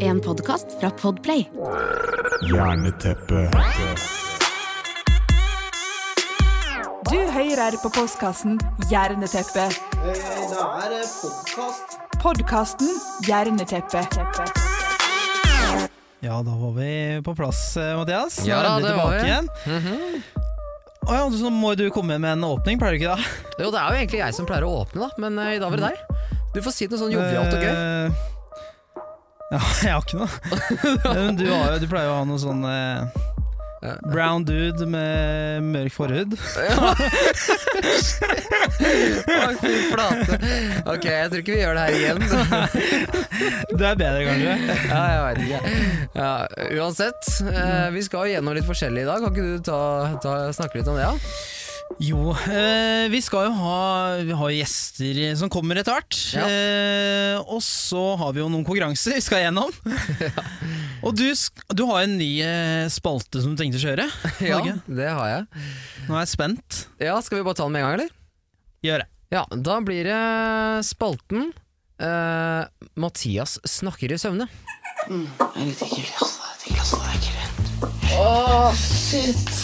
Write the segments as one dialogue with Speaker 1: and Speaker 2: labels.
Speaker 1: en podkast fra Podplay.
Speaker 2: Jerneteppet.
Speaker 3: Du hører på postkassen Hjerneteppet.
Speaker 4: Det Eh, er podkast.
Speaker 3: Podkasten Hjerneteppet.
Speaker 5: Ja, da var vi på plass, eh, Mathias. Nå
Speaker 6: Ja,
Speaker 5: er vi
Speaker 6: det var
Speaker 5: tilbake
Speaker 6: vi. Mhm.
Speaker 5: igjen. Å ja, så må jo du komme med en åpning, pleier du ikke da?
Speaker 6: Jo, det er jo egentlig jeg som pleier å åpne, da, men eh, i dag var det deg. Du får si noe sånn jovialt og gøy.
Speaker 5: Eh, Ja, jeg har ikke noe. Men du, har jo, du pleier jo å ha noe sånn eh, brown dude med mørk forhud.
Speaker 6: Å, fy flate. Ok, jeg tror ikke vi gjør det her igjen.
Speaker 5: Du er bedre, kanskje?
Speaker 6: Ja, jeg vet ikke. Ja, uansett, eh, vi skal jo gjennom litt forskjellig i dag. Kan ikke du ta, ta, snakke litt om det? Ja?
Speaker 5: Jo, eh, vi skal jo ha Vi har jo gjester som kommer etter hvert.
Speaker 6: Ja.
Speaker 5: Eh, og så har vi jo noen konkurranser vi skal gjennom. Og du, sk- du har en ny eh, spalte som du tenkte å kjøre.
Speaker 6: Ja,
Speaker 5: Norge.
Speaker 6: det har jeg.
Speaker 5: Nå er jeg spent.
Speaker 6: Ja, Skal vi bare ta den med en gang, eller?
Speaker 5: Gjør det.
Speaker 6: Ja, da blir det spalten eh, Mathias snakker i søvne.
Speaker 4: Mm, Jeg liker ikke det, altså. Jeg tenker altså, det er ikke rent. Åh, shit.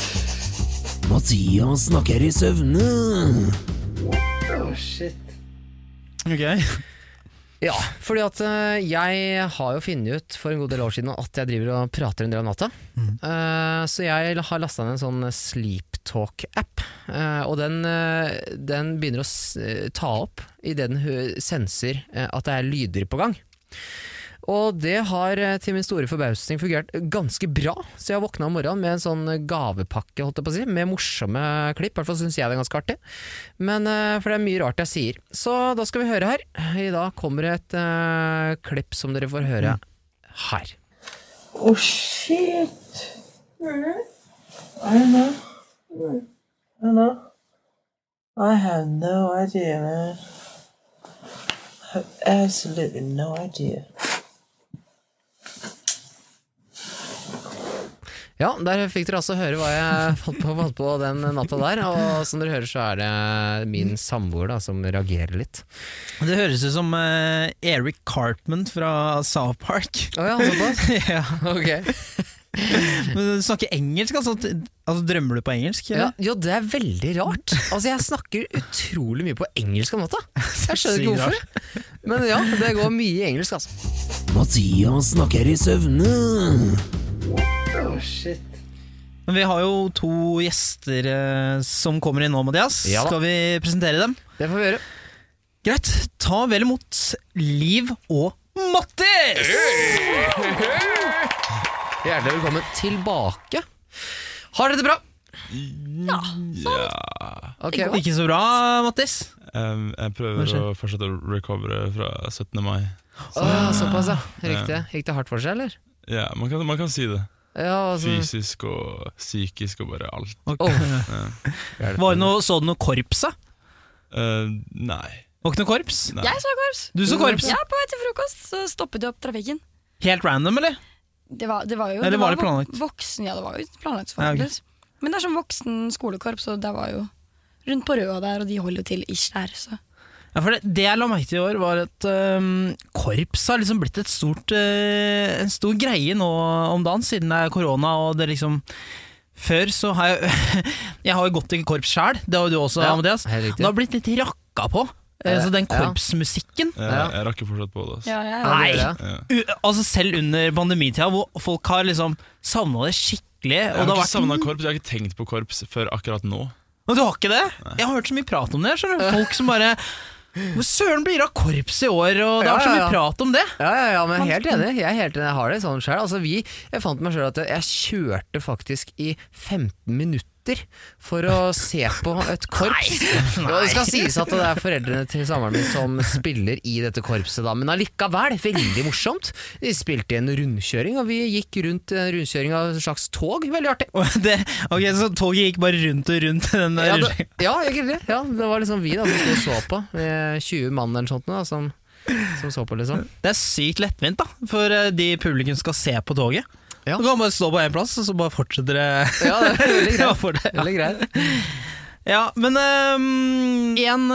Speaker 6: Mathias snakker i søvne.
Speaker 4: Åh, shit.
Speaker 5: Ok.
Speaker 6: Ja, fordi at eh, jeg har jo funnet ut for en god del år siden at jeg driver og prater en del av natta. Eh, så jeg har lasta ned en sånn Sleeptalk-app, eh, og den, eh, den begynner å s ta opp idet den hø- senser eh, at det er lyder på gang. Og det har eh, til min store forbausning fungert ganske bra, så jeg våkna om morgenen med en sånn gavepakke, holdt jeg på å si, med morsomme klipp. I hvert fall syns jeg det er ganske artig. Men eh, For det er mye rart jeg sier. Så da skal vi høre her. I dag kommer det et eh, klipp som dere får høre her.
Speaker 4: Åh, shit. I know. I know. I have no idea, man. I have absolutely no idea.
Speaker 6: Ja, der fikk dere altså høre hva jeg fant på, fant på den natta der. Og som dere hører, så er det min samboer da som reagerer litt.
Speaker 5: Det høres ut som eh, Eric Cartman fra South Park.
Speaker 6: Å ja, såpass?
Speaker 5: ja.
Speaker 6: Ok.
Speaker 5: Men du snakker engelsk, altså? T- altså drømmer du på engelsk?
Speaker 6: Ja,
Speaker 5: eller?
Speaker 6: jo, det er veldig rart. Altså, jeg snakker utrolig mye på engelsk om natta. Jeg skjønner ikke
Speaker 5: Sykt rart.
Speaker 6: hvorfor. Men ja, det går mye i engelsk, altså.
Speaker 7: Mathias snakker i søvne.
Speaker 4: Åh, shit.
Speaker 5: Men vi har jo to gjester eh, som kommer inn nå, Mathias.
Speaker 6: Ja da.
Speaker 5: Skal vi presentere dem?
Speaker 6: Det får vi gjøre.
Speaker 5: Greit. Ta vel imot Liv og Mattis!
Speaker 6: Hjertelig velkommen tilbake. Har dere det bra? Ja, sånn. Ok,
Speaker 5: Ikke så bra, Mattis.
Speaker 8: Um, jeg
Speaker 5: Hva
Speaker 8: prøver
Speaker 5: skjer?
Speaker 8: å fortsette å recovere fra 17. mai.
Speaker 6: Åh, såpass, ja. Riktig. Gikk det hardt for seg, eller?
Speaker 8: Ja, man kan, man kan si det.
Speaker 6: Ja, altså.
Speaker 8: Fysisk og psykisk og bare alt.
Speaker 5: Var det noe, så du noe korps, da?
Speaker 8: Eh, nei.
Speaker 5: Var ikke noe korps?
Speaker 8: nei.
Speaker 9: Jeg så korps.
Speaker 5: Du så korps?
Speaker 9: Ja, På vei til frokost så stoppet de opp trafikken.
Speaker 5: Helt random, eller?
Speaker 9: Det var, det var jo
Speaker 5: Eller
Speaker 9: det
Speaker 5: var
Speaker 9: var
Speaker 5: det
Speaker 9: vok-
Speaker 5: planlagt?
Speaker 9: Voksen, ja, det var jo planlagt.
Speaker 5: Ja, ok.
Speaker 9: forhåpentligvis. Men det er sånn voksen skolekorps, og det var jo rundt på Røa der, og de holder jo til ish der. Så.
Speaker 5: Ja, for det, det jeg la merke til i år, var at øhm, korps har liksom blitt et stort, øh, en stor greie nå om dagen, siden det er korona og det liksom Før så har jeg Jeg har jo gått i korps sjæl, det har jo du også,
Speaker 6: Ja,
Speaker 5: Amadeus.
Speaker 6: helt riktig.
Speaker 5: Det har blitt litt rakka på. eh, Så den korpsmusikken
Speaker 8: Jeg, jeg rakker fortsatt på det. Altså.
Speaker 9: Ja, jeg,
Speaker 5: Nei!
Speaker 6: det gjør
Speaker 5: U altså Selv under pandemitida, hvor folk har liksom savna det skikkelig.
Speaker 8: Jeg
Speaker 5: Og det
Speaker 8: har
Speaker 5: har
Speaker 8: ikke
Speaker 5: vært,
Speaker 8: savna korps, jeg har ikke tenkt på korps før akkurat nå.
Speaker 5: men du har ikke det? Jeg har hørt så mye prat om det. skjønner du? Folk som bare Hvor søren blir det av korps i år? Og det har vært så mye
Speaker 6: Ja, ja, ja.
Speaker 5: prat om det.
Speaker 6: Ja, ja, ja, men helt enig. Jeg, er helt enig. jeg har det sånn sjøl. Altså, vi- jeg fant meg sjøl at jeg- jeg kjørte faktisk i 15 minutter for å se på et korps. Og Det skal sies at det er foreldrene til samboeren min som spiller i dette korpset, da, men allikevel veldig morsomt. De spilte i en rundkjøring, og vi gikk rundt en rundkjøring av et slags tog. Veldig artig.
Speaker 5: Og det, ok, Så toget gikk bare rundt og rundt i den der
Speaker 6: Ja, det, ja, egentlig. Ja, det var liksom vi da som sto og så på. eh, 20 mann eller sånt nå, da, som, som så på, liksom.
Speaker 5: Det er sykt lettvint, da, for eh, de publikum skal se på toget.
Speaker 6: Ja.
Speaker 5: Du kan bare stå på én plass, og så bare fortsetter det.
Speaker 6: Ja, det er veldig greit.
Speaker 5: for det.
Speaker 6: Veldig greit.
Speaker 5: Ja, men én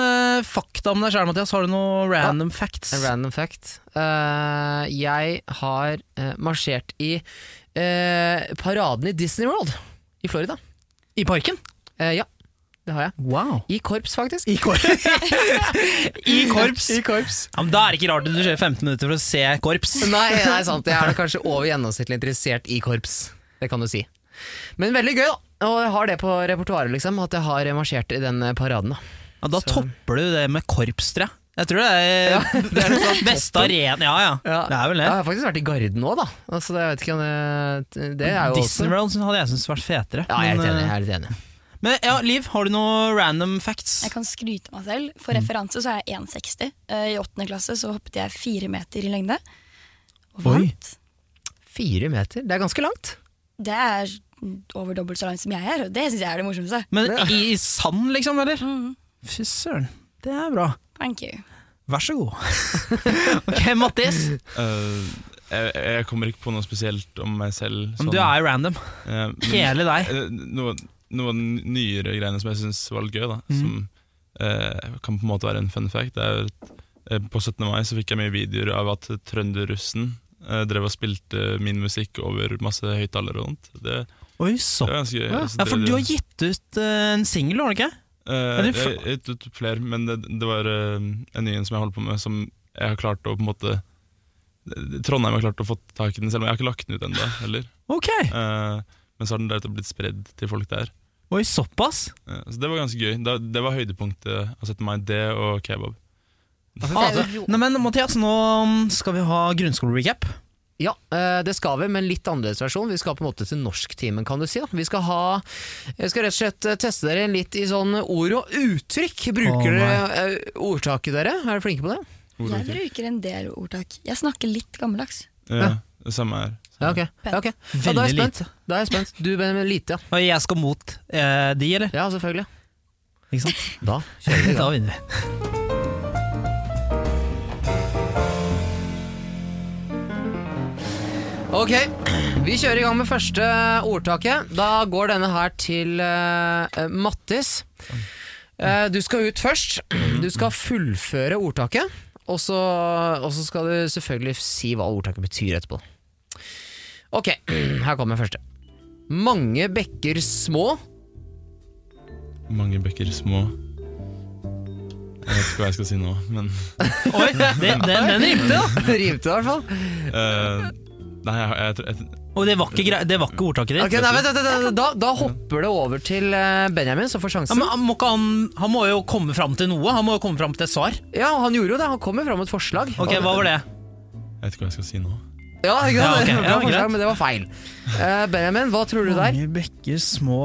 Speaker 5: fakta om deg sjæl, Mathias. Har du noen random facts?
Speaker 6: En random fact. Eh, jeg har eh, marsjert i eh, paraden i Disney World i Florida.
Speaker 5: I parken?
Speaker 6: Eh, ja, det har jeg.
Speaker 5: Wow.
Speaker 6: I korps, faktisk.
Speaker 5: I korps. I korps.
Speaker 6: I korps.
Speaker 5: Ja, men da er det ikke rart at du kjører 15 minutter for å se korps.
Speaker 6: Nei, nei, sant. Jeg er nok kanskje over gjennomsnittlig interessert i korps. Det kan du si. Men veldig gøy, da. Og jeg har det på repertoaret, liksom. At jeg har marsjert i den paraden. da
Speaker 5: Ja, da
Speaker 6: Så-
Speaker 5: topper du det med korps, tror jeg. Jeg tror det er, det er beste arena Ja, ja. Det er vel det.
Speaker 6: Jeg har faktisk vært i Garden òg, da. Altså, jeg vet ikke om det, det er jo
Speaker 5: Disney World synes- hadde jeg syntes vært fetere.
Speaker 6: Ja, jeg er litt
Speaker 5: men,
Speaker 6: enig.
Speaker 5: eh,
Speaker 6: Jeg er litt enig.
Speaker 5: men ja, Liv, har du noen random facts?
Speaker 9: Jeg kan skryte meg selv. For
Speaker 5: Mm.
Speaker 9: referanse så er jeg 1,60. Eh, I åttende klasse så hoppet jeg fire meter i lengde. Og
Speaker 5: Oi.
Speaker 9: vant.
Speaker 6: Fire meter, det er ganske langt.
Speaker 9: Det er over dobbelt så langt som jeg er, og det syns jeg er det morsomste.
Speaker 5: Men i, i sand, liksom, eller?
Speaker 9: Mhm.
Speaker 5: Fy søren, det er bra.
Speaker 9: Thank you.
Speaker 5: Vær så god. ok, Mattis.
Speaker 8: Eh, jeg, jeg kommer ikke på noe spesielt om meg selv.
Speaker 5: Men Du er jo random.
Speaker 8: Eh, men-
Speaker 5: Hele deg.
Speaker 8: Eh, noe, noe av de nyere greiene som jeg syns var litt gøy, da,
Speaker 5: Mhm.
Speaker 8: som eh, kan på en måte være en fun fact, det er at eh, på 17. mai så fikk jeg mye videoer av at trønderrussen eh, drev og spilte min musikk over masse høyttalere og sånt. Det,
Speaker 5: Oi,
Speaker 8: det
Speaker 5: så.
Speaker 8: var ganske gøy.
Speaker 5: Ja,
Speaker 8: Så
Speaker 5: for
Speaker 8: det-
Speaker 5: du har gitt ut eh, en singel, har du ikke?
Speaker 8: Eh,
Speaker 5: Eller
Speaker 8: jeg-
Speaker 5: fa-
Speaker 8: jeg har gitt ut flere, men det, det var eh, en ny en som jeg holder på med, som jeg har klart å på en måte Trondheim har klart å få tak i den, selv om jeg har ikke lagt den ut ennå heller.
Speaker 5: Ok.
Speaker 8: Eh, men så har den deretter blitt spredd til folk der.
Speaker 5: Oi, såpass?
Speaker 8: Eh, Så det var ganske gøy. Da, det var høydepunktet eh, av 17. mai. Det og kebab.
Speaker 5: Ah, nei, men Mathias, nå mm, skal vi ha grunnskolerecap.
Speaker 6: Ja, eh, det skal vi, men litt annerledes versjon. Vi skal på en måte til norsktimen, kan du si. Da. Vi skal ha Jeg skal rett og slett eh, teste dere litt i sånn ord og uttrykk. Bruker
Speaker 5: Å, nei.
Speaker 6: dere eh, ordtaket dere? Er dere flinke på det?
Speaker 8: Ord og
Speaker 9: Jeg
Speaker 8: uttrykk.
Speaker 9: bruker en del ordtak. Jeg snakker litt gammeldags.
Speaker 8: Ja, det samme her.
Speaker 6: Ja, ok. Ja, ok. Ja, da er jeg
Speaker 5: Veldig
Speaker 6: spent. Da er jeg spent. Du, Benjamin, lite.
Speaker 5: Og jeg skal mot eh, de, eller?
Speaker 6: Ja, ja selvfølgelig.
Speaker 5: Ikke sant?
Speaker 6: Da kjører vi i
Speaker 5: Da
Speaker 6: gang.
Speaker 5: vinner vi.
Speaker 6: Ok, vi kjører i gang med første ordtaket. Da går denne her til eh, Mattis. Eh, du skal ut først. Du skal fullføre ordtaket. Og så, og så skal du selvfølgelig si hva ordtaket betyr etterpå. Ok, her kommer første. Mange bekker små.
Speaker 8: Mange bekker små. Jeg vet ikke hva jeg skal si nå, men
Speaker 5: Oi, det, den, den rimte, da!
Speaker 6: Rimte i hvert fall.
Speaker 8: eh, Nei, jeg, jeg, tror- jeg,
Speaker 5: Og det var ikke, grei- det var ikke ordtaket ditt.
Speaker 6: Ok, nei, vent, vent, vent, vent. Da, da hopper det over til eh, Benjamin, som får
Speaker 5: Ja,
Speaker 6: sjansen.
Speaker 5: men han, må ikke han, han må jo komme fram til noe. Han må jo komme fram til et svar.
Speaker 6: Ja, han gjorde jo det. Han kom jo fram med et forslag.
Speaker 5: Ok, Hva var det?
Speaker 8: jeg vet ikke hva jeg skal si nå.
Speaker 6: Ja, ikke
Speaker 5: Ja, ok.
Speaker 6: sant? Bra
Speaker 5: Ja,
Speaker 6: forslag,
Speaker 5: greit.
Speaker 6: men det var feil. Eh, Benjamin, hva tror du der?
Speaker 5: bekker små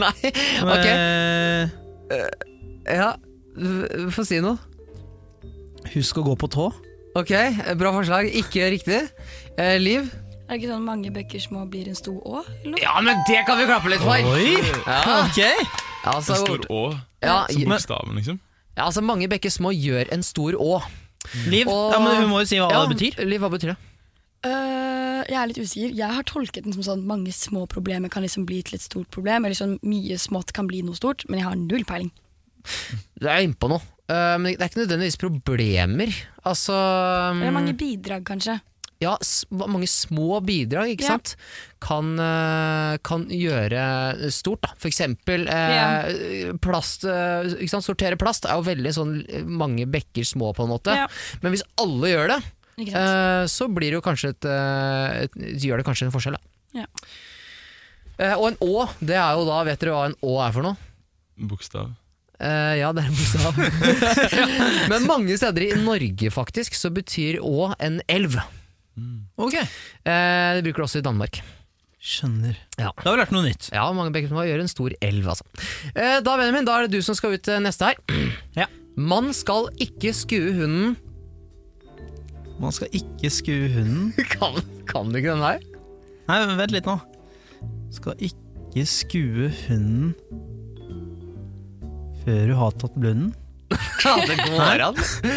Speaker 6: Nei, ok.
Speaker 5: Eh,
Speaker 6: Ja, v- få si noe.
Speaker 5: Husk å gå på tå.
Speaker 6: Ok, bra forslag. Ikke riktig. Eh, Liv?
Speaker 9: Er det ikke sånn mange bøkker små blir en stor å? eller noe?
Speaker 6: Ja, men det kan vi klappe litt for!
Speaker 5: Oi!
Speaker 6: Ja,
Speaker 5: Ok!
Speaker 8: En
Speaker 6: altså,
Speaker 8: stor Å,
Speaker 6: ja,
Speaker 8: som
Speaker 6: men-
Speaker 8: bokstaven, liksom.
Speaker 6: ja, altså mange bekker små gjør en stor å.
Speaker 5: Liv,
Speaker 6: Og-
Speaker 5: ja, men hun må jo si hva
Speaker 6: Ja,
Speaker 5: det betyr.
Speaker 6: Liv, hva betyr det?
Speaker 9: Øh, jeg er litt usikker. Jeg har tolket den som sånn mange små problemer kan liksom bli til et stort problem, eller sånn mye smått kan bli noe stort, men jeg har null peiling.
Speaker 6: Du er innpå noe. Eh, men det er ikke nødvendigvis problemer. Altså
Speaker 9: Eller mange
Speaker 6: Mm.
Speaker 9: bidrag, kanskje.
Speaker 6: ja, s- mange små bidrag, ikke
Speaker 9: Ja.
Speaker 6: sant, kan, eh, kan gjøre stort, da. For eksempel eh, plast, eh, ikke sant? sortere plast er jo veldig sånn eh, mange bekker små, på en måte.
Speaker 9: Ja.
Speaker 6: Men hvis alle gjør det,
Speaker 9: Ikke sant?
Speaker 6: eh, så blir det jo kanskje et, eh, et, gjør det kanskje en forskjell, da.
Speaker 9: Ja.
Speaker 6: Eh, og en Å, det er jo da, vet dere hva en Å er for noe?
Speaker 8: Bokstav.
Speaker 6: Eh, ja, det er en bokstav. Men mange steder i Norge faktisk, så betyr Å en elv. Mm.
Speaker 5: Ok,
Speaker 6: Eh, det bruker det også i Danmark.
Speaker 5: Skjønner.
Speaker 6: Ja.
Speaker 5: Da har vi lært noe nytt.
Speaker 6: Ja, mange bekker små gjør en stor elv, altså. Eh, da, Benjamin, da er det du som skal ut eh, neste her.
Speaker 5: Ja.
Speaker 6: Man skal ikke skue hunden.
Speaker 5: Man skal ikke skue hunden.
Speaker 6: Kan, kan du ikke den her?
Speaker 5: Nei, vent litt nå. Skal ikke skue hunden før du har tatt blunden.
Speaker 6: Ja, det går an.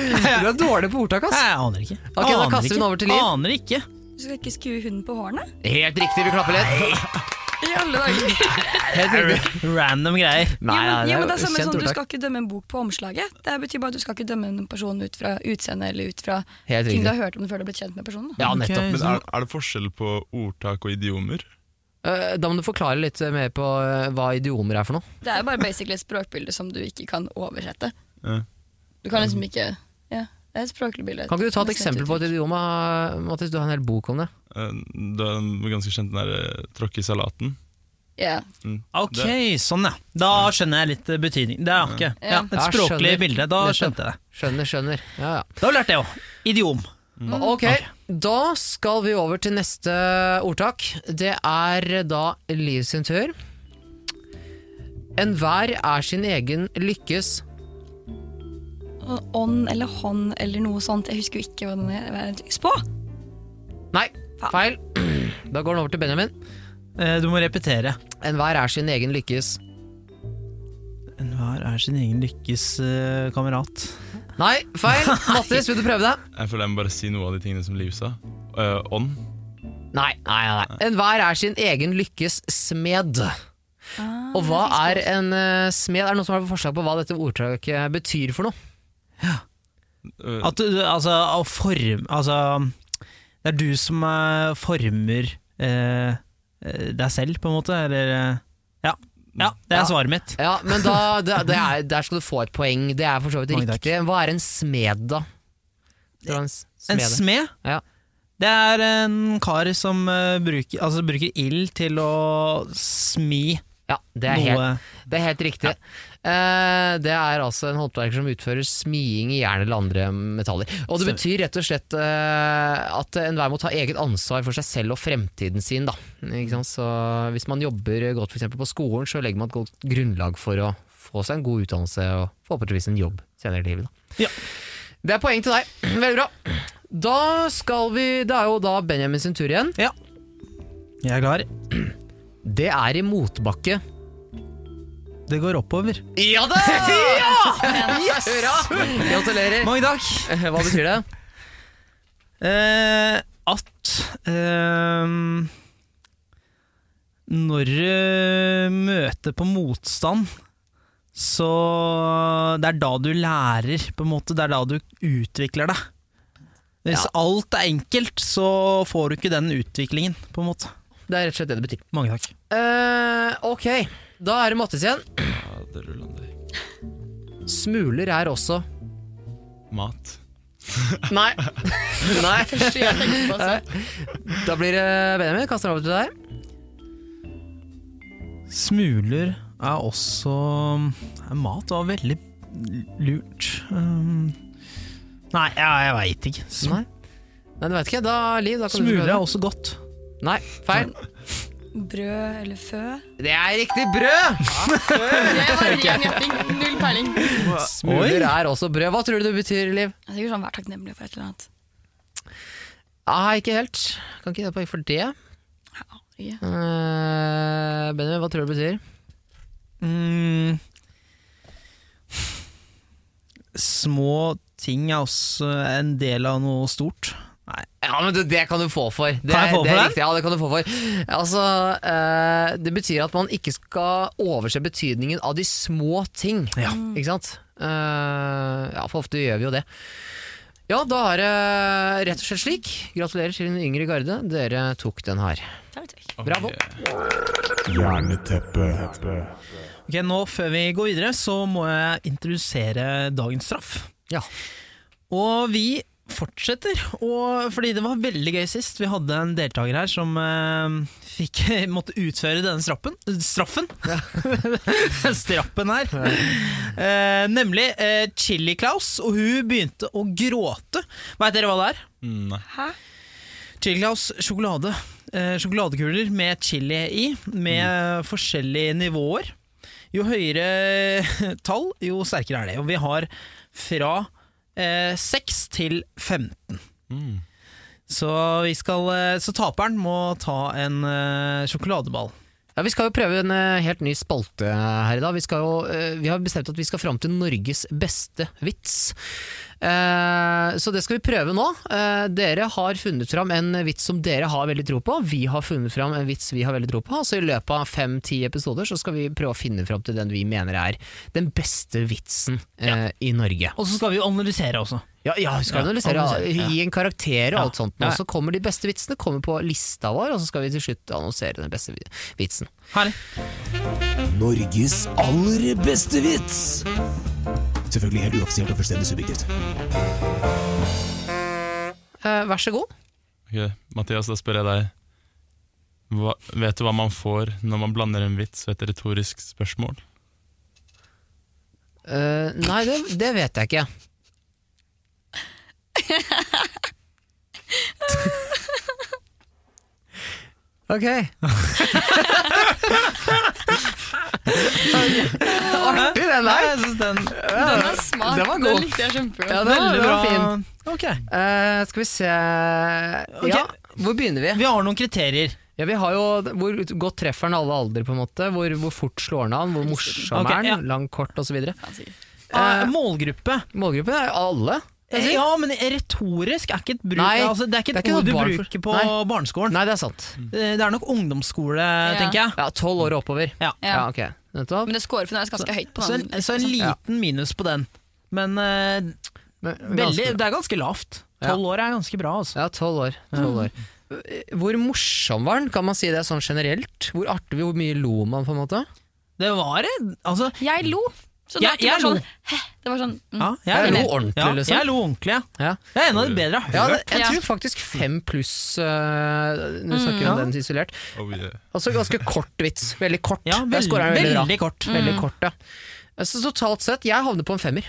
Speaker 6: Du er dårlig på ordtak,
Speaker 5: Nei,
Speaker 6: ass.
Speaker 5: jeg aner ikke.
Speaker 6: Ok, da
Speaker 5: Aner
Speaker 6: kaster vi den
Speaker 5: ikke.
Speaker 6: over til Liv.
Speaker 5: Aner ikke.
Speaker 9: Du skal ikke skue hunden på hårene?
Speaker 6: Helt riktig, vi klapper litt.
Speaker 9: I alle dager.
Speaker 5: Random greier.
Speaker 6: Nei,
Speaker 9: jo, men,
Speaker 6: nei,
Speaker 9: jo, men det er
Speaker 6: jo
Speaker 9: samme
Speaker 6: kjent
Speaker 9: som Du
Speaker 6: ordtak.
Speaker 9: skal ikke dømme en bok på omslaget. Det betyr bare at du skal ikke dømme en person ut fra utseende eller ut fra
Speaker 6: Helt
Speaker 9: ting
Speaker 6: riktig.
Speaker 9: du har hørt om før du har blitt kjent med personen. Da.
Speaker 6: Ja, nettopp.
Speaker 5: Ok,
Speaker 8: Men
Speaker 5: så-
Speaker 8: er, er det forskjell på ordtak og idiomer?
Speaker 6: Eh, Da må du forklare litt mer på eh, hva idiomer er for noe.
Speaker 9: Det er jo bare basically et språkbilde som du ikke kan oversette.
Speaker 8: Ja.
Speaker 9: Du kan liksom ikke Ja, det er et språklig bilde.
Speaker 6: Kan ikke du ta et eksempel på et idiom? eh, Mathis, du har en hel bok om det.
Speaker 8: Eh, Det er en ganske kjent den derre 'tråkke i salaten'.
Speaker 9: Ja.
Speaker 8: Mm.
Speaker 5: Ok,
Speaker 8: Det-
Speaker 5: sånn ja. Da skjønner jeg litt eh, betydning. Det er ikke ja,
Speaker 9: Ja.
Speaker 5: et språklig
Speaker 6: Jeg skjønner.
Speaker 5: bilde. Da
Speaker 6: Nettopp.
Speaker 5: skjønte jeg det.
Speaker 6: Skjønner, skjønner. Ja, ja.
Speaker 5: Da har vi lært det òg. Idiom.
Speaker 6: Mm. Ok, da skal vi over til neste ordtak. Det er da Liv sin tur. Enhver er sin egen lykkes
Speaker 9: Ånd eller hånd eller noe sånt. Jeg husker jo ikke hva den er. Hva er det? Spå!
Speaker 6: Nei, feil. Da går den over til Benjamin.
Speaker 5: Eh, Du må repetere.
Speaker 6: Enhver er sin egen lykkes
Speaker 5: Enhver er sin egen lykkes eh, kamerat.
Speaker 6: Nei, feil. Mattis, vil du prøve det?
Speaker 8: Jeg føler jeg må bare si noe av de tingene som Liv sa. Eh, ånd.
Speaker 6: Nei, nei, nei. nei. Enhver er sin egen lykkes smed.
Speaker 9: Ah,
Speaker 6: Og hva er en eh, smed? Er det noen som har forslag på hva dette ordtaket betyr for noe?
Speaker 8: Eh,
Speaker 5: At du, altså, å form... Altså, det er du som eh, former eh, eh, deg selv, på en måte, eller eh, Ja. Ja, det er
Speaker 6: Ja.
Speaker 5: svaret mitt.
Speaker 6: Ja, men da, det, det er, Der skal du få et poeng. Det er for så vidt
Speaker 5: Oi, takk.
Speaker 6: riktig. Hva er en smed, da? Tror du en s-
Speaker 5: En
Speaker 6: smede?
Speaker 5: smed?
Speaker 6: Ja.
Speaker 5: Det er en kar som eh, bruker, altså, bruker ild til å smi
Speaker 6: Ja, det er
Speaker 5: noe
Speaker 6: helt, det er helt riktig. Eh, det er altså en håndverker som utfører smiing i jern eller andre metaller. Og det
Speaker 5: Stemmer.
Speaker 6: betyr rett og slett eh, at enhver må ta eget ansvar for seg selv og fremtiden sin, da. Ikke sant? Så hvis man jobber godt f.eks. på skolen, så legger man et godt grunnlag for å få seg en god utdannelse og forhåpentligvis en jobb senere i livet. Da.
Speaker 5: Ja.
Speaker 6: Det er poeng til deg. Veldig bra. Da skal vi Det er jo da Benjamin sin tur igjen.
Speaker 5: Jeg er klar.
Speaker 6: Det er i motbakke.
Speaker 5: Det går oppover.
Speaker 6: Ja da! Yes! Hurra! Gratulerer.
Speaker 5: Mange takk!
Speaker 6: Hva betyr det?
Speaker 5: Eh, at eh, Når du møter på motstand, så Det er da du lærer, på en måte. Det er da du utvikler deg. Hvis
Speaker 6: Ja.
Speaker 5: alt er enkelt, så får du ikke den utviklingen, på en måte.
Speaker 6: Det er rett og slett det det betyr.
Speaker 5: Mange takk.
Speaker 6: Eh, ok, da er det Mattis igjen.
Speaker 8: ja, det ruller an der.
Speaker 6: Smuler er også
Speaker 8: Mat.
Speaker 6: Nei. Nei.
Speaker 9: Jeg tenkte på
Speaker 6: Eh,
Speaker 9: altså.
Speaker 6: Da blir det Benjamin. Kaster over til deg.
Speaker 5: Smuler er også er Mat var veldig lurt. Um, nei, jeg, jeg veit ikke. Sm
Speaker 6: Nei. Nei, du veit ikke. Da, Liv, da kan
Speaker 5: Smuler
Speaker 6: du
Speaker 5: er
Speaker 6: prøve.
Speaker 5: også godt.
Speaker 6: Nei, feil.
Speaker 9: Brød eller fø.
Speaker 6: Det er riktig brød!
Speaker 9: Det var ren gjetting. Null peiling. Jeg
Speaker 6: Smuler er også brød. Hva tror du det betyr, Liv?
Speaker 9: er sikkert sånn vær takknemlig for et eller annet.
Speaker 6: Nei, Ah, ikke helt. Kan ikke gi deg poeng for det.
Speaker 9: Ja.
Speaker 6: Eh, Benjamin, hva tror du det betyr?
Speaker 5: Mm. Små ting er også en del av noe stort. Nei.
Speaker 6: Ja, men du, det kan du få for. Det,
Speaker 5: Kan jeg få
Speaker 6: det
Speaker 5: for
Speaker 6: er
Speaker 5: den?
Speaker 6: Riktig, ja, det kan du få for. Altså, eh, det betyr at man ikke skal overse betydningen av de små ting.
Speaker 5: Ja.
Speaker 6: Ikke sant? Eh, ja, for ofte gjør vi jo det. Ja, da er det rett og slett slik. Gratulerer til den yngre garde. Dere tok den her.
Speaker 9: Takk, takk.
Speaker 6: Bravo.
Speaker 1: Hjerneteppe.
Speaker 5: Ok, nå Før vi går videre, så må jeg introdusere dagens straff.
Speaker 6: Ja.
Speaker 5: Og vi fortsetter, og fordi det var veldig gøy sist. Vi hadde en deltaker her som eh, fikk, måtte utføre denne strappen. Straffen! Strappen her. Eh, nemlig eh, Chili Claus, og hun begynte å gråte. Veit dere hva det er?
Speaker 8: Mm, Nei.
Speaker 9: Hæ?
Speaker 5: Chili Claus sjokolade. Eh, sjokoladekuler med chili i, med forskjellige nivåer. Jo høyere tall, jo sterkere er det. Og vi har fra eh, 6 til 15.
Speaker 8: Mm.
Speaker 5: Så, vi skal, eh, så taperen må ta en eh, sjokoladeball.
Speaker 6: Ja, Vi skal jo prøve en eh, helt ny spalte her i dag. Vi, skal jo, eh, vi har bestemt at vi skal fram til Norges beste vits. Eh, Eh, Så det skal vi prøve nå. Eh, Dere har funnet fram en vits som dere har veldig tro på. Vi har funnet fram en vits vi har veldig tro på. Og så i løpet av fem-ti episoder så skal vi prøve å finne fram til den vi mener er den beste vitsen eh, i Norge.
Speaker 5: Og så skal vi jo analysere også.
Speaker 6: Ja, ja vi skal
Speaker 5: Ja,
Speaker 6: analysere,
Speaker 5: analysere, ja.
Speaker 6: gi en karakter og alt sånt.
Speaker 5: Ja,
Speaker 6: Og
Speaker 5: ja.
Speaker 6: så kommer de beste vitsene kommer på lista vår, og så skal vi til slutt annonsere den beste vi- vitsen.
Speaker 5: Herlig.
Speaker 7: Norges aller beste vits! Selvfølgelig helt uoffisielt og fullstendig subjektivt.
Speaker 6: Eh, Vær så god.
Speaker 8: Ok, Mathias, da spør jeg deg. Hva, vet du hva man får når man blander en vits og et retorisk spørsmål?
Speaker 6: Eh, nei, det, det vet jeg ikke. ok. Artig, den
Speaker 5: Nei,
Speaker 6: der.
Speaker 5: jeg synes den
Speaker 9: Den er smart.
Speaker 6: den var god.
Speaker 9: Den likte jeg kjempegodt.
Speaker 6: Ja, den var-
Speaker 5: Veldig
Speaker 6: den var
Speaker 5: bra.
Speaker 6: fin.
Speaker 5: Ok.
Speaker 6: Eh, skal vi se Ja, hvor begynner vi?
Speaker 5: Vi har noen kriterier.
Speaker 6: Ja, vi har jo, Hvor godt treffer den alle aldre, på en måte? Hvor, hvor fort slår den an? Hvor morsom
Speaker 5: Ok,
Speaker 6: er den?
Speaker 5: ja.
Speaker 6: Lang, kort osv.?
Speaker 5: Eh, målgruppe.
Speaker 6: Målgruppen er alle.
Speaker 5: Ja, men retorisk er ikke et bruk
Speaker 6: Nei,
Speaker 5: altså, Det er ikke et
Speaker 6: det er ikke
Speaker 5: ord du
Speaker 6: noe barn-
Speaker 5: bruker på
Speaker 6: Nei.
Speaker 5: barneskolen.
Speaker 6: Nei, det er sant.
Speaker 5: Eh, Det er nok ungdomsskole, tenker jeg.
Speaker 6: Ja, Tolv år og oppover.
Speaker 5: Ja.
Speaker 9: Ja.
Speaker 6: Ja, ok. Nettopp.
Speaker 9: Men det scorer fremdeles ganske høyt på
Speaker 5: Så,
Speaker 9: den.
Speaker 5: en, så en liten minus på den. Men eh,
Speaker 6: Men-
Speaker 5: veldig,
Speaker 6: ganske-
Speaker 5: det er ganske lavt.
Speaker 6: Ja.
Speaker 5: Tolv år er ganske bra, altså.
Speaker 6: Ja, tolv år. 12 år. Hvor morsom var den? Kan man si det sånn generelt? Hvor artig, hvor mye lo man, på en måte?
Speaker 5: Det var en altså,
Speaker 6: Mm.
Speaker 9: Jeg lo. Så det
Speaker 5: Jeg-
Speaker 9: var ikke
Speaker 5: jeg
Speaker 9: bare
Speaker 5: lo.
Speaker 9: sånn «Hæ?» Det var sånn mm.
Speaker 5: ja,
Speaker 6: Jeg lo
Speaker 5: enig.
Speaker 6: ordentlig,
Speaker 5: ja,
Speaker 6: liksom.
Speaker 5: Jeg lo ordentlig, ja.
Speaker 6: Ja.
Speaker 5: Det er en av de bedre jeg
Speaker 6: Ja,
Speaker 5: har hørt.
Speaker 6: det- jeg
Speaker 9: Ja.
Speaker 6: tror faktisk fem pluss, øh, når vi snakker om
Speaker 5: Mm.
Speaker 6: den isolert.
Speaker 8: Oh, yeah.
Speaker 6: Altså ganske kort vits. Veldig kort.
Speaker 5: Ja,
Speaker 6: Der
Speaker 5: veldig,
Speaker 6: scorer han veldig, bra.
Speaker 5: veldig kort. Mm.
Speaker 6: Veldig kort, ja. Så totalt sett, jeg havner på en femmer.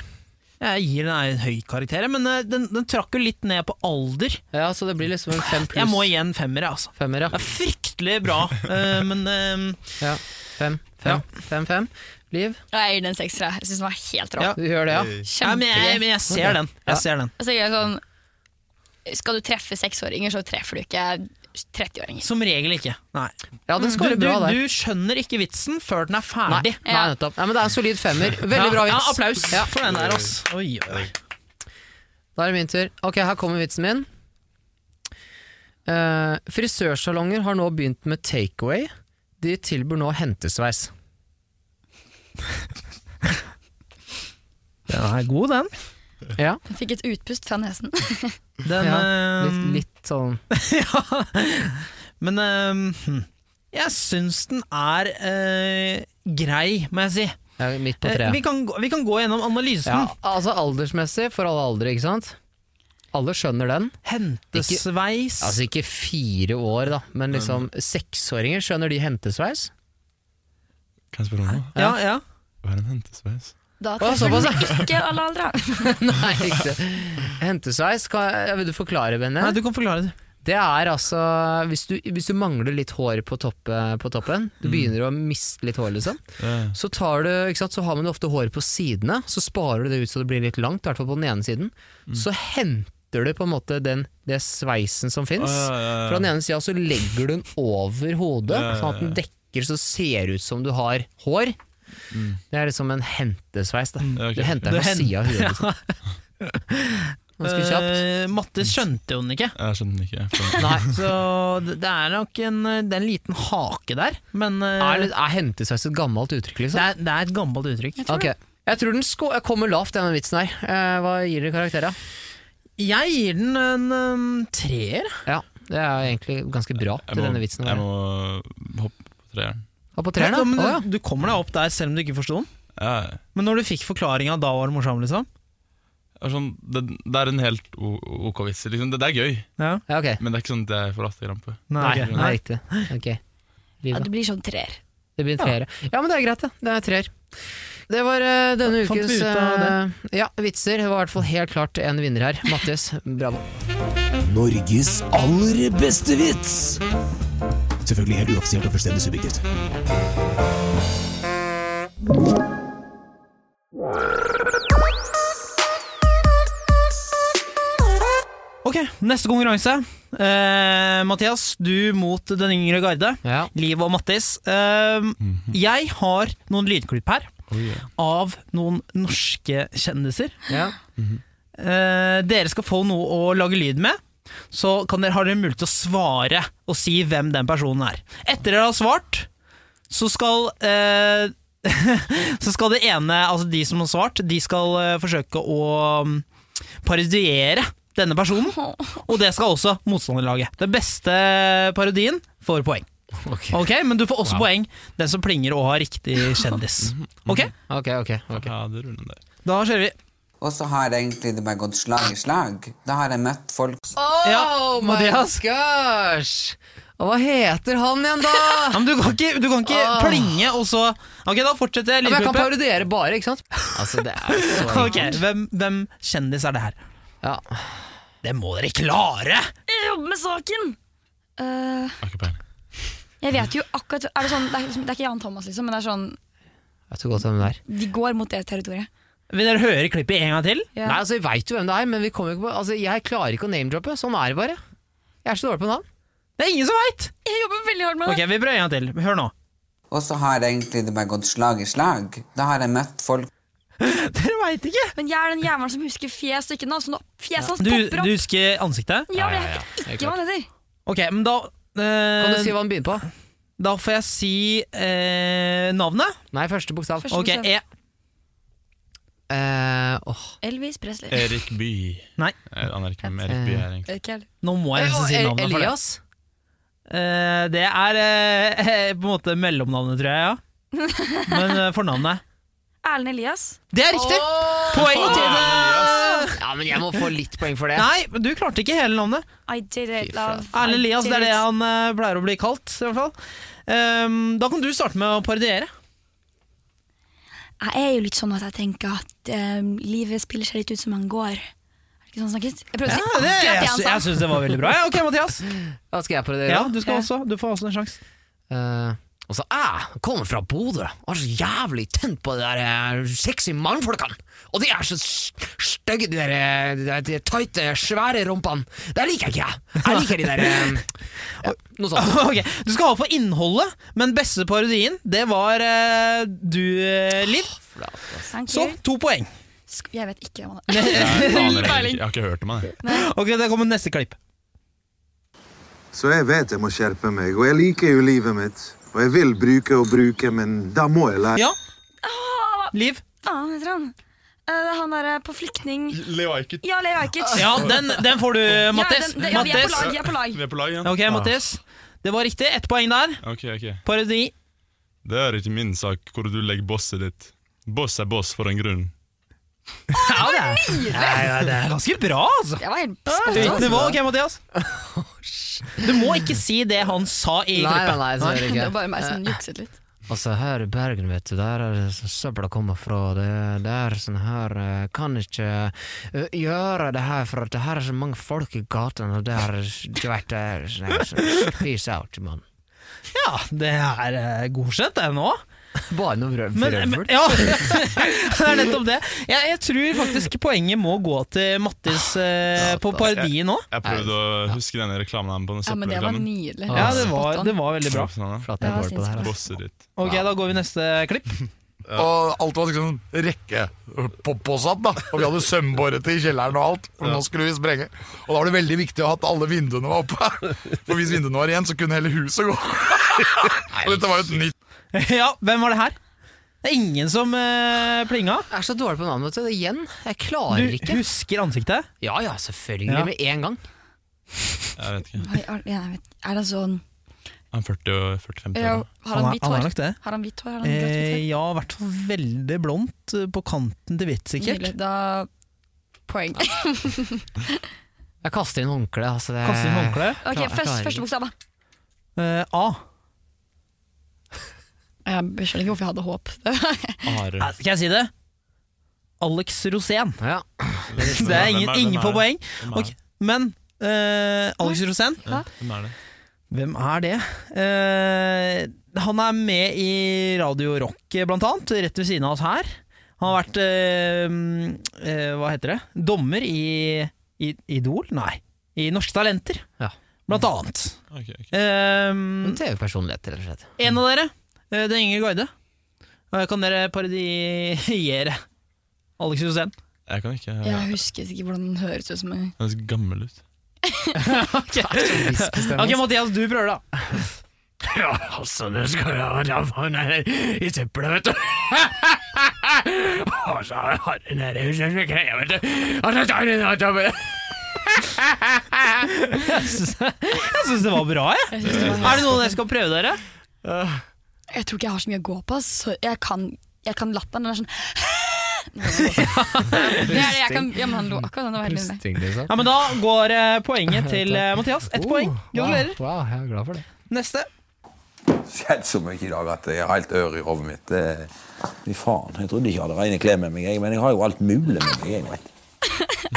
Speaker 5: Jeg gir den en høy karakter, men eh, den, den trakk jo litt ned på alder.
Speaker 6: Ja, Så det blir liksom en fem pluss
Speaker 5: Jeg må igjen femmere, altså.
Speaker 6: femmer,
Speaker 5: Det
Speaker 6: ja.
Speaker 5: er fryktelig bra, eh, men eh,
Speaker 6: ja. Fem, fem, fem, fem. Liv,
Speaker 9: Ja, Jeg gir den en sekser. Jeg, jeg syns den var helt rå.
Speaker 5: Ja.
Speaker 6: du gjør det, ja?
Speaker 5: ja, men, jeg,
Speaker 9: Kjempegøy.
Speaker 5: men jeg ser den.
Speaker 6: Ja.
Speaker 5: Jeg ser den.
Speaker 9: Altså, jeg er sånn, skal du treffe seksåringer, så treffer du ikke 30-åringer.
Speaker 5: Som regel ikke. Nei.
Speaker 6: Ja, den
Speaker 5: Mm, Du,
Speaker 6: scorer
Speaker 5: du,
Speaker 6: bra der.
Speaker 5: du skjønner ikke vitsen før den er
Speaker 6: Nei,
Speaker 5: ferdig.
Speaker 6: nei,
Speaker 9: Ja.
Speaker 6: nettopp. Nei, men det er en solid femmer. Veldig bra vits.
Speaker 5: Ja, applaus
Speaker 6: Ja,
Speaker 5: for den der, altså. Oi, oi, oi.
Speaker 6: da er det min tur. Ok, her kommer vitsen min. Eh, frisørsalonger har nå begynt med takeaway. De tilbyr nå hentesveis.
Speaker 5: Den er god, den.
Speaker 6: Ja,
Speaker 9: Jeg fikk et utpust fra nesen.
Speaker 5: den
Speaker 6: ja.
Speaker 5: eh,
Speaker 6: Litt, litt sånn
Speaker 5: Men eh, hm. jeg syns den er eh, grei, må jeg si.
Speaker 6: ja, midt på
Speaker 5: Eh, vi,
Speaker 6: treet.
Speaker 5: kan, gå- vi kan gå gjennom analysen.
Speaker 6: Ja, altså aldersmessig, for alle aldre, ikke sant? Alle skjønner den.
Speaker 5: Hentesveis
Speaker 6: Altså ikke fire år, da, men liksom seksåringer, skjønner de hentesveis?
Speaker 8: Kan jeg spørre om noe?
Speaker 5: ja, ja.
Speaker 8: Hva er en hentesveis?
Speaker 9: Da
Speaker 6: Å,
Speaker 9: treffer
Speaker 6: såpass,
Speaker 9: du ikke alle aldre.
Speaker 6: Nei, ikke Hentesveis, kan, ja, vil du forklare, Benny?
Speaker 5: Nei, du kan forklare det.
Speaker 6: Det er altså hvis du, hvis du mangler litt hår på, toppe- på toppen,
Speaker 8: Mm.
Speaker 6: du begynner å miste litt hår, liksom,
Speaker 8: Eh,
Speaker 6: så, tar du, ikke sant, så har man jo ofte hår på sidene, så sparer du det ut så det blir litt langt, i hvert fall på den ene siden.
Speaker 8: Mm.
Speaker 6: Så henter du på en måte den, det sveisen som fins.
Speaker 8: eh,
Speaker 6: Fra den ene sida så legger du den over hodet,
Speaker 8: Ja, ja, ja.
Speaker 6: sånn at den dekker så ser det ut som du har hår. Det er liksom en hentesveis. Da.
Speaker 8: Ja, Mm. ok.
Speaker 6: Du henter
Speaker 5: Du
Speaker 6: den fra
Speaker 5: hent-
Speaker 6: sida av huet. Liksom. Ganske kjapt.
Speaker 5: Eh, Matte skjønte jo den ikke.
Speaker 8: Jeg skjønner den ikke. For-
Speaker 6: Nei.
Speaker 5: Så det det er nok en, eh, det er en liten hake der, men eh,
Speaker 6: Er, det- er hentesveis et gammelt uttrykk,
Speaker 5: det,
Speaker 6: liksom?
Speaker 5: er, det er et gammelt uttrykk.
Speaker 6: Jeg tror, jeg tror den sko jeg kommer lavt, denne vitsen her. Eh, hva gir dere karakter, da?
Speaker 5: Jeg gir den en eh, treer.
Speaker 6: Ja, det er egentlig ganske bra
Speaker 8: Jeg
Speaker 6: til
Speaker 8: må,
Speaker 6: denne vitsen. å
Speaker 8: jeg
Speaker 6: være.
Speaker 8: må hoppe på treeren.
Speaker 6: Ja, på treeren, da?
Speaker 5: Ja, men
Speaker 6: Å, ja.
Speaker 5: du, du kommer deg opp der selv om du ikke forsto den.
Speaker 8: Ja,
Speaker 5: Men når du fikk forklaringa, da var det morsom, liksom?
Speaker 8: det er sånn, det, det er en helt o- ok vits. Liksom. Det, det er gøy,
Speaker 5: Ja.
Speaker 6: ja, ok.
Speaker 8: men det er ikke sånn at jeg får latterkramp på.
Speaker 5: Nei,
Speaker 6: Nei,
Speaker 5: ok.
Speaker 6: det er riktig. Ok. Liv,
Speaker 9: Ja,
Speaker 6: da?
Speaker 9: det blir sånn treer.
Speaker 6: Det blir en treer. Ja. men det er greit, det. Det er treer. Det var eh, denne
Speaker 5: Fant vi
Speaker 6: ukes
Speaker 5: ut av
Speaker 6: eh, ja, vitser. Det var i hvert fall helt klart en vinner her. Mattis, bravo.
Speaker 7: Norges aller beste vits! Selvfølgelig helt uoffisielt og fullstendig subjektivt.
Speaker 5: Ok, neste konkurranse. Eh, Mathias, du mot den yngre garde.
Speaker 6: Ja.
Speaker 5: Liv og Mattis. Eh, Jeg har noen lydklipp her
Speaker 8: Oi, ja.
Speaker 5: av noen norske kjendiser.
Speaker 6: Ja.
Speaker 5: Eh, dere skal få noe å lage lyd med. Så kan dere, har dere mulighet til å svare og si hvem den personen er. Etter dere har svart, så skal eh, Så skal det ene, altså de som har svart, de skal eh, forsøke å mm, parodiere denne personen. Og det skal også motstanderlaget. Den beste parodien får poeng.
Speaker 6: Ok,
Speaker 5: Ok, Men du får også
Speaker 6: Wow.
Speaker 5: poeng den som plinger og har riktig kjendis. Ok,
Speaker 6: ok. ok.
Speaker 8: Ja, det runder der.
Speaker 5: Da kjører vi.
Speaker 1: Og så har egentlig det bare gått slag i slag. Da har jeg møtt folk
Speaker 5: Ja,
Speaker 6: Oh my
Speaker 5: Mathias.
Speaker 6: gosh! Og hva heter han igjen, da?
Speaker 5: Ja, men du kan ikke, du kan ikke
Speaker 6: Åh.
Speaker 5: plinge og så Ok, da fortsetter jeg
Speaker 6: Ja, men jeg kan
Speaker 5: lydklippet.
Speaker 6: parodiere bare, ikke sant? Altså, det er så
Speaker 5: Ok, hvem, hvem kjendis er det her?
Speaker 6: Ja.
Speaker 5: Det må dere klare!
Speaker 9: Jeg jobber med saken! Eh,
Speaker 8: Har ikke peiling.
Speaker 9: jeg vet jo akkurat er det, sånn, det, er, liksom- det er ikke Jan Thomas, liksom, men det er sånn
Speaker 6: Jeg vet jo godt hvem det er.
Speaker 9: De går mot det territoriet.
Speaker 5: Vil dere høre klippet en gang til?
Speaker 9: Ja.
Speaker 6: Nei, altså, Vi veit jo hvem det er, men vi kommer jo ikke på Altså, jeg klarer ikke å name-droppe. Sånn er det bare. Jeg er så dårlig på navn.
Speaker 5: Det er ingen som veit!
Speaker 9: Jeg jobber veldig hardt med det.
Speaker 5: Ok, vi prøver en gang til. Hør nå.
Speaker 1: Og så har egentlig det bare gått slag i slag. Da har jeg møtt folk
Speaker 5: Dere veit ikke!
Speaker 9: Men jeg er den jævelen som husker fjes og ikke navn. Så nå fjeset hans
Speaker 5: Du, du
Speaker 9: popper opp.
Speaker 5: husker ansiktet?
Speaker 9: Ja,
Speaker 6: Ja,
Speaker 9: men
Speaker 6: ja, ja.
Speaker 9: jeg vet
Speaker 6: Helt
Speaker 9: ikke hva han heter.
Speaker 5: Ok, men da eh,
Speaker 6: Kan du si hva den begynner på?
Speaker 5: Da får jeg si eh, navnet.
Speaker 6: Nei, første bokstav.
Speaker 9: Første
Speaker 5: Ok,
Speaker 9: bokstav.
Speaker 5: E.
Speaker 6: Eh, åh.
Speaker 9: Elvis Presley.
Speaker 5: Eh.
Speaker 8: Erik Bye.
Speaker 5: Nei.
Speaker 8: Eh, Han er ikke med, men Erik Bye er egentlig
Speaker 9: Ikke helt.
Speaker 5: Nå må jeg nesten si
Speaker 6: Eh,
Speaker 5: navnet. for det.
Speaker 6: Elias.
Speaker 5: Eh, det er eh, på en måte mellomnavnet, tror jeg. ja Men eh, fornavnet.
Speaker 9: Erlend Elias.
Speaker 5: Det er riktig! Poeng til det!
Speaker 6: Ja, men jeg må få litt poeng for det.
Speaker 5: Nei, men du klarte ikke hele navnet.
Speaker 9: I did it,
Speaker 6: Fy faen.
Speaker 9: love.
Speaker 5: Erlend
Speaker 9: I
Speaker 5: Elias,
Speaker 9: did
Speaker 5: det er det
Speaker 9: it.
Speaker 5: han eh, pleier å bli kalt. I hvert fall. Ehm, da kan du starte med å parodiere.
Speaker 9: Jeg er jo litt sånn at jeg tenker at eh, livet spiller seg litt ut som man går. Er det ikke sånn han snakket? Jeg prøvde å si
Speaker 5: det,
Speaker 9: akkurat det
Speaker 5: jeg
Speaker 9: han
Speaker 5: sy-
Speaker 9: sa.
Speaker 5: jeg syns det var veldig bra. Ja, ok, Mathias.
Speaker 6: Da skal jeg parodiere.
Speaker 5: Ja, du, skal også, du får også en sjanse.
Speaker 6: Eh, og så jeg kommer fra Bodø og er så jævlig tent på de der eh, sexy mannfolkene. Og de er så s- stygge, de der, eh, de der de tighte, svære rumpene. Det liker jeg ikke, jeg. Jeg liker de der eh, ja, Noe sånt.
Speaker 5: Ok, Du skal ha for innholdet, men beste parodien, det var eh, du, eh, Liv.
Speaker 9: Thank
Speaker 5: Så
Speaker 9: you.
Speaker 5: to poeng.
Speaker 9: Sk- Jeg vet ikke hvem han er.
Speaker 8: Jeg, aner egentlig ikke. jeg har ikke hørt om han. jeg.
Speaker 5: Ok, Der kommer neste klipp.
Speaker 2: Så jeg vet jeg må skjerpe meg, og jeg liker jo livet mitt. Og jeg vil bruke og bruke, men da må jeg lære.
Speaker 5: Ja. Liv.
Speaker 9: Faen heter han. Eh, det er han derre på flyktning
Speaker 8: Leo Ajkic.
Speaker 9: Ja, Leo Ajkic.
Speaker 5: Ja, den, den får du, Mattis.
Speaker 9: den- den- ja, vi er på
Speaker 5: Mattis.
Speaker 9: lag. Vi er på lag.
Speaker 8: Vi er på lag, ja.
Speaker 5: Ok, Mattis. Det var riktig. Ett poeng der.
Speaker 8: Ah, ok, ok.
Speaker 5: Parodi.
Speaker 8: Det er ikke min sak hvor du legger bosset ditt. Boss er boss for en grunn.
Speaker 5: Ja, det er, Nei, nei, det er ganske bra, altså.
Speaker 9: Jeg var helt spot
Speaker 5: Høyt
Speaker 9: on.
Speaker 5: nivå, ok, Mathias? Oh, Du må ikke si det han sa i klippet.
Speaker 6: så gjør
Speaker 9: Det var bare meg som jukset litt.
Speaker 6: Altså her i Bergen, vet du, der er det sånn så- søpla kommer fra. Det, det er sånn her eh, Kan ikke eh, gjøre det her, for at det her er så mange folk i gatene, og det er Du vet, det er sånn her, så- Peace out, mann.
Speaker 5: Ja, det er eh, godkjent, det nå.
Speaker 6: Bare noe vrøvl.
Speaker 5: Men, men, ja, det er nettopp det. Jeg, jeg tror faktisk poenget må gå til Mattis eh, på parodien nå.
Speaker 8: Jeg prøvde å huske denne reklamen her på den
Speaker 9: Ja, men det var
Speaker 8: søppelreklamen.
Speaker 9: nydelig.
Speaker 5: Ja, det var, det var veldig bra.
Speaker 8: Sånn, ja.
Speaker 6: Flate jeg
Speaker 9: Ja,
Speaker 6: går på det her. altså.
Speaker 8: Bosset ditt.
Speaker 5: Ok, da går vi neste klipp.
Speaker 10: Og alt var liksom rekke på, påsatt, da. Og vi hadde sømborete i kjelleren og alt, for nå skulle vi sprenge. Og da var det veldig viktig å ha at alle vinduene var oppe. For hvis vinduene var igjen, så kunne hele huset gå. Og dette var jo et nytt
Speaker 5: Ja, hvem var det her? Det er ingen som eh, plinga.
Speaker 6: Jeg er så dårlig på navn, vet du. Det er Igjen. Jeg
Speaker 5: Du
Speaker 6: klarer ikke.
Speaker 5: husker ansiktet?
Speaker 6: Ja ja, selvfølgelig.
Speaker 5: Ja.
Speaker 6: Med en gang.
Speaker 8: Jeg vet ikke.
Speaker 9: Oi, er- ja, jeg vet- Er det sånn
Speaker 8: Han 40 og 40-50
Speaker 9: ja,
Speaker 8: år.
Speaker 9: Har han
Speaker 5: er-
Speaker 9: hvitt
Speaker 5: han er
Speaker 9: hår?
Speaker 5: nok det.
Speaker 9: Har han hvitt hår? Har han grått hvitt
Speaker 5: Eh,
Speaker 9: hår?
Speaker 5: ja, i hvert fall veldig blondt eh, på kanten til hvitt, sikkert.
Speaker 9: Nydelig. Da Poeng.
Speaker 6: Jeg kaster inn håndkle. Altså det...
Speaker 5: Kaster inn håndkle.
Speaker 9: Ok,
Speaker 6: Klar-
Speaker 9: først,
Speaker 6: klarer ikke.
Speaker 9: Første bokstav, da.
Speaker 5: Eh, A.
Speaker 9: Jeg skjønner ikke hvorfor jeg hadde håp.
Speaker 8: Are.
Speaker 5: Nei, Skal jeg si det? Alex Rosén.
Speaker 6: Ja.
Speaker 5: Det er
Speaker 8: Hvem
Speaker 5: ingen,
Speaker 8: hvem
Speaker 5: ingen får poeng.
Speaker 8: Hvem er,
Speaker 5: Ok, men eh, Alex Rosén,
Speaker 8: det? Hvem er det?
Speaker 5: hvem er det? Eh, han er med i Radio Rock, eh, blant annet. Rett ved siden av oss her. Han har vært eh, mm, eh, Hva heter det? Dommer i, i Idol? Nei. I Norske Talenter,
Speaker 6: Ja.
Speaker 5: blant annet.
Speaker 8: Ok, ok.
Speaker 5: Eh,
Speaker 6: En TV-personlighet, rett og slett.
Speaker 5: en av dere, eh, det er Inger Guide. Eh, Kan dere parodiere Alex Rosén?
Speaker 8: Jeg kan ikke.
Speaker 9: Jeg
Speaker 8: Jeg
Speaker 9: husker ikke hvordan den høres ut som en
Speaker 8: høres gammel ut.
Speaker 5: ok, Ok, Mathias, du prøver, da. Ja, altså, det skal jeg ha ræva ned i søpla, vet du. Altså, Og så har jeg den her huset greia, vet du. Og så tar jeg den av toppen. Jeg syns det var bra, jeg.
Speaker 9: jeg, synes det var
Speaker 5: Er det noe dere skal prøve dere?
Speaker 9: jeg tror ikke jeg har så mye å gå på. ass. Så jeg kan, jeg kan lappen. Den er sånn det er det jeg kan, ja, men han lo akkurat. Den var helt inne.
Speaker 6: Pusting, liksom.
Speaker 5: Ja, men Da går eh, poenget til eh, Mathias. Ett
Speaker 6: Oh,
Speaker 5: poeng. Gratulerer.
Speaker 6: Wow, wow, jeg er glad for det.
Speaker 5: Neste.
Speaker 11: skjedd så mye i dag at jeg har helt ør i hodet mitt. Det- Fy faen, jeg trodde ikke jeg hadde rene klær med meg, jeg, men jeg har jo alt mulig med meg. jeg vet.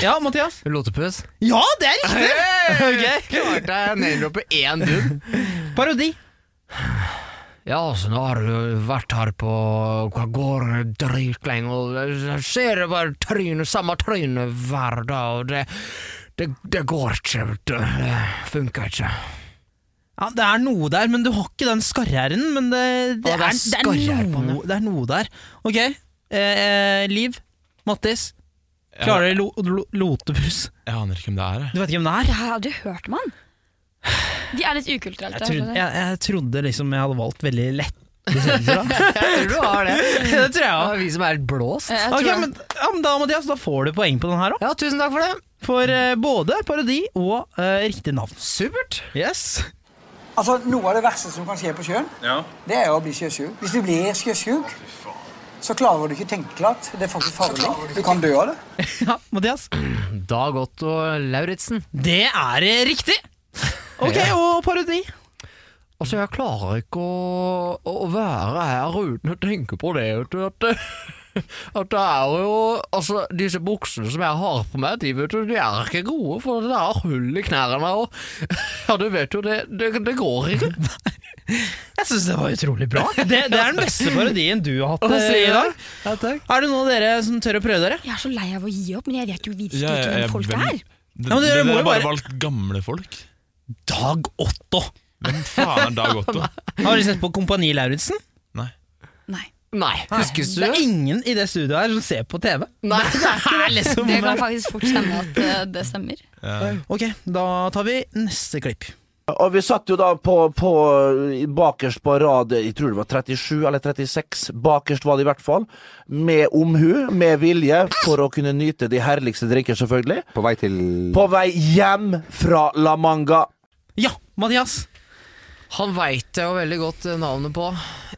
Speaker 5: Ja, Mathias.
Speaker 6: Lotepus.
Speaker 5: Ja, det er riktig! Ok.
Speaker 6: Klarte jeg å name-droppe én dude?
Speaker 5: Parodi.
Speaker 6: Ja, altså, nå har du vært her på hva går dritlenge, og jeg ser bare trynet, samme trynet hver dag, og det, det, det går ikke, vet du. Det funker ikke.
Speaker 5: Ja, Det er noe der, men du har ikke den skarre-r-en. Men det, det,
Speaker 6: Ja, det er
Speaker 5: er, det,
Speaker 6: skarre-r
Speaker 5: er
Speaker 6: på den, ja.
Speaker 5: noe, det er noe der. Ok, eh, eh, Liv, Mattis, klarer dere lo, lo, Lotepus?
Speaker 8: Jeg aner ikke hvem det er. jeg.
Speaker 5: Du vet ikke hvem det er?
Speaker 9: Jeg har aldri hørt om han. De er litt ukulturelle.
Speaker 5: Jeg trodde,
Speaker 9: skjønner du?
Speaker 5: jeg, jeg trodde liksom jeg hadde valgt veldig lett. lisenser, da.
Speaker 6: Jeg tror du har det.
Speaker 5: det tror jeg
Speaker 6: Ja,
Speaker 5: òg.
Speaker 6: vi som er litt blåst.
Speaker 9: Jeg tror
Speaker 5: Ok,
Speaker 9: han-
Speaker 5: men, ja, men da, Mathias, da får du poeng på den her òg.
Speaker 6: Ja, tusen takk for det.
Speaker 5: For eh, både parodi og eh, riktig navn.
Speaker 6: Supert.
Speaker 5: Yes.
Speaker 1: Altså, Noe av det verste som kan skje på sjøen, det er å bli sjøsjuk. Hvis du blir sjøsjuk, så klarer du ikke å tenke klart. Det er faktisk farlig. Du kan dø av det.
Speaker 5: Ja, Mathias.
Speaker 6: Dag Otto Lauritzen.
Speaker 5: Det er eh, riktig! Ok, og parodi.
Speaker 6: Altså, jeg klarer ikke å, å være her uten å tenke på det, vet du. At det, at det er jo Altså, disse buksene som jeg har på meg, de, vet du, de er ikke gode, for det er hull i knærne og Ja, du vet jo, det, det, det går ikke.
Speaker 5: Jeg syns det var utrolig bra. Det, det er den beste parodien du har hatt eh, i dag.
Speaker 6: Ja, takk.
Speaker 5: Er det noen av dere som tør å prøve dere?
Speaker 9: Jeg er så lei av å gi opp, men jeg vet jo virkelig
Speaker 8: Ja,
Speaker 9: ikke
Speaker 8: jeg- jeg-
Speaker 9: hvem folk
Speaker 8: hvem-
Speaker 9: er.
Speaker 8: Det,
Speaker 5: Ja, men dere
Speaker 8: dere
Speaker 5: må jo
Speaker 8: har bare
Speaker 5: bare-
Speaker 8: valgt gamle folk.
Speaker 5: Dag Otto.
Speaker 8: Hvem faen er Dag Otto?
Speaker 5: Har dere sett på Kompani Lauritzen?
Speaker 8: Nei.
Speaker 9: Nei.
Speaker 6: Nei, huskes
Speaker 5: Det er
Speaker 6: du?
Speaker 5: ingen i det studioet her som ser på TV.
Speaker 6: Nei, det er liksom
Speaker 9: Det kan faktisk fort stemme at eh, det stemmer.
Speaker 5: Ok, da tar vi neste klipp.
Speaker 11: Og vi satt jo da på, på bakerst på rad, jeg tror det var 37 eller 36, bakerst var det i hvert fall, med omhu, med vilje, for å kunne nyte de herligste drikker, selvfølgelig. På vei til På vei hjem fra La Manga.
Speaker 5: Ja, Mathias.
Speaker 6: Han veit jeg jo veldig godt eh, navnet på.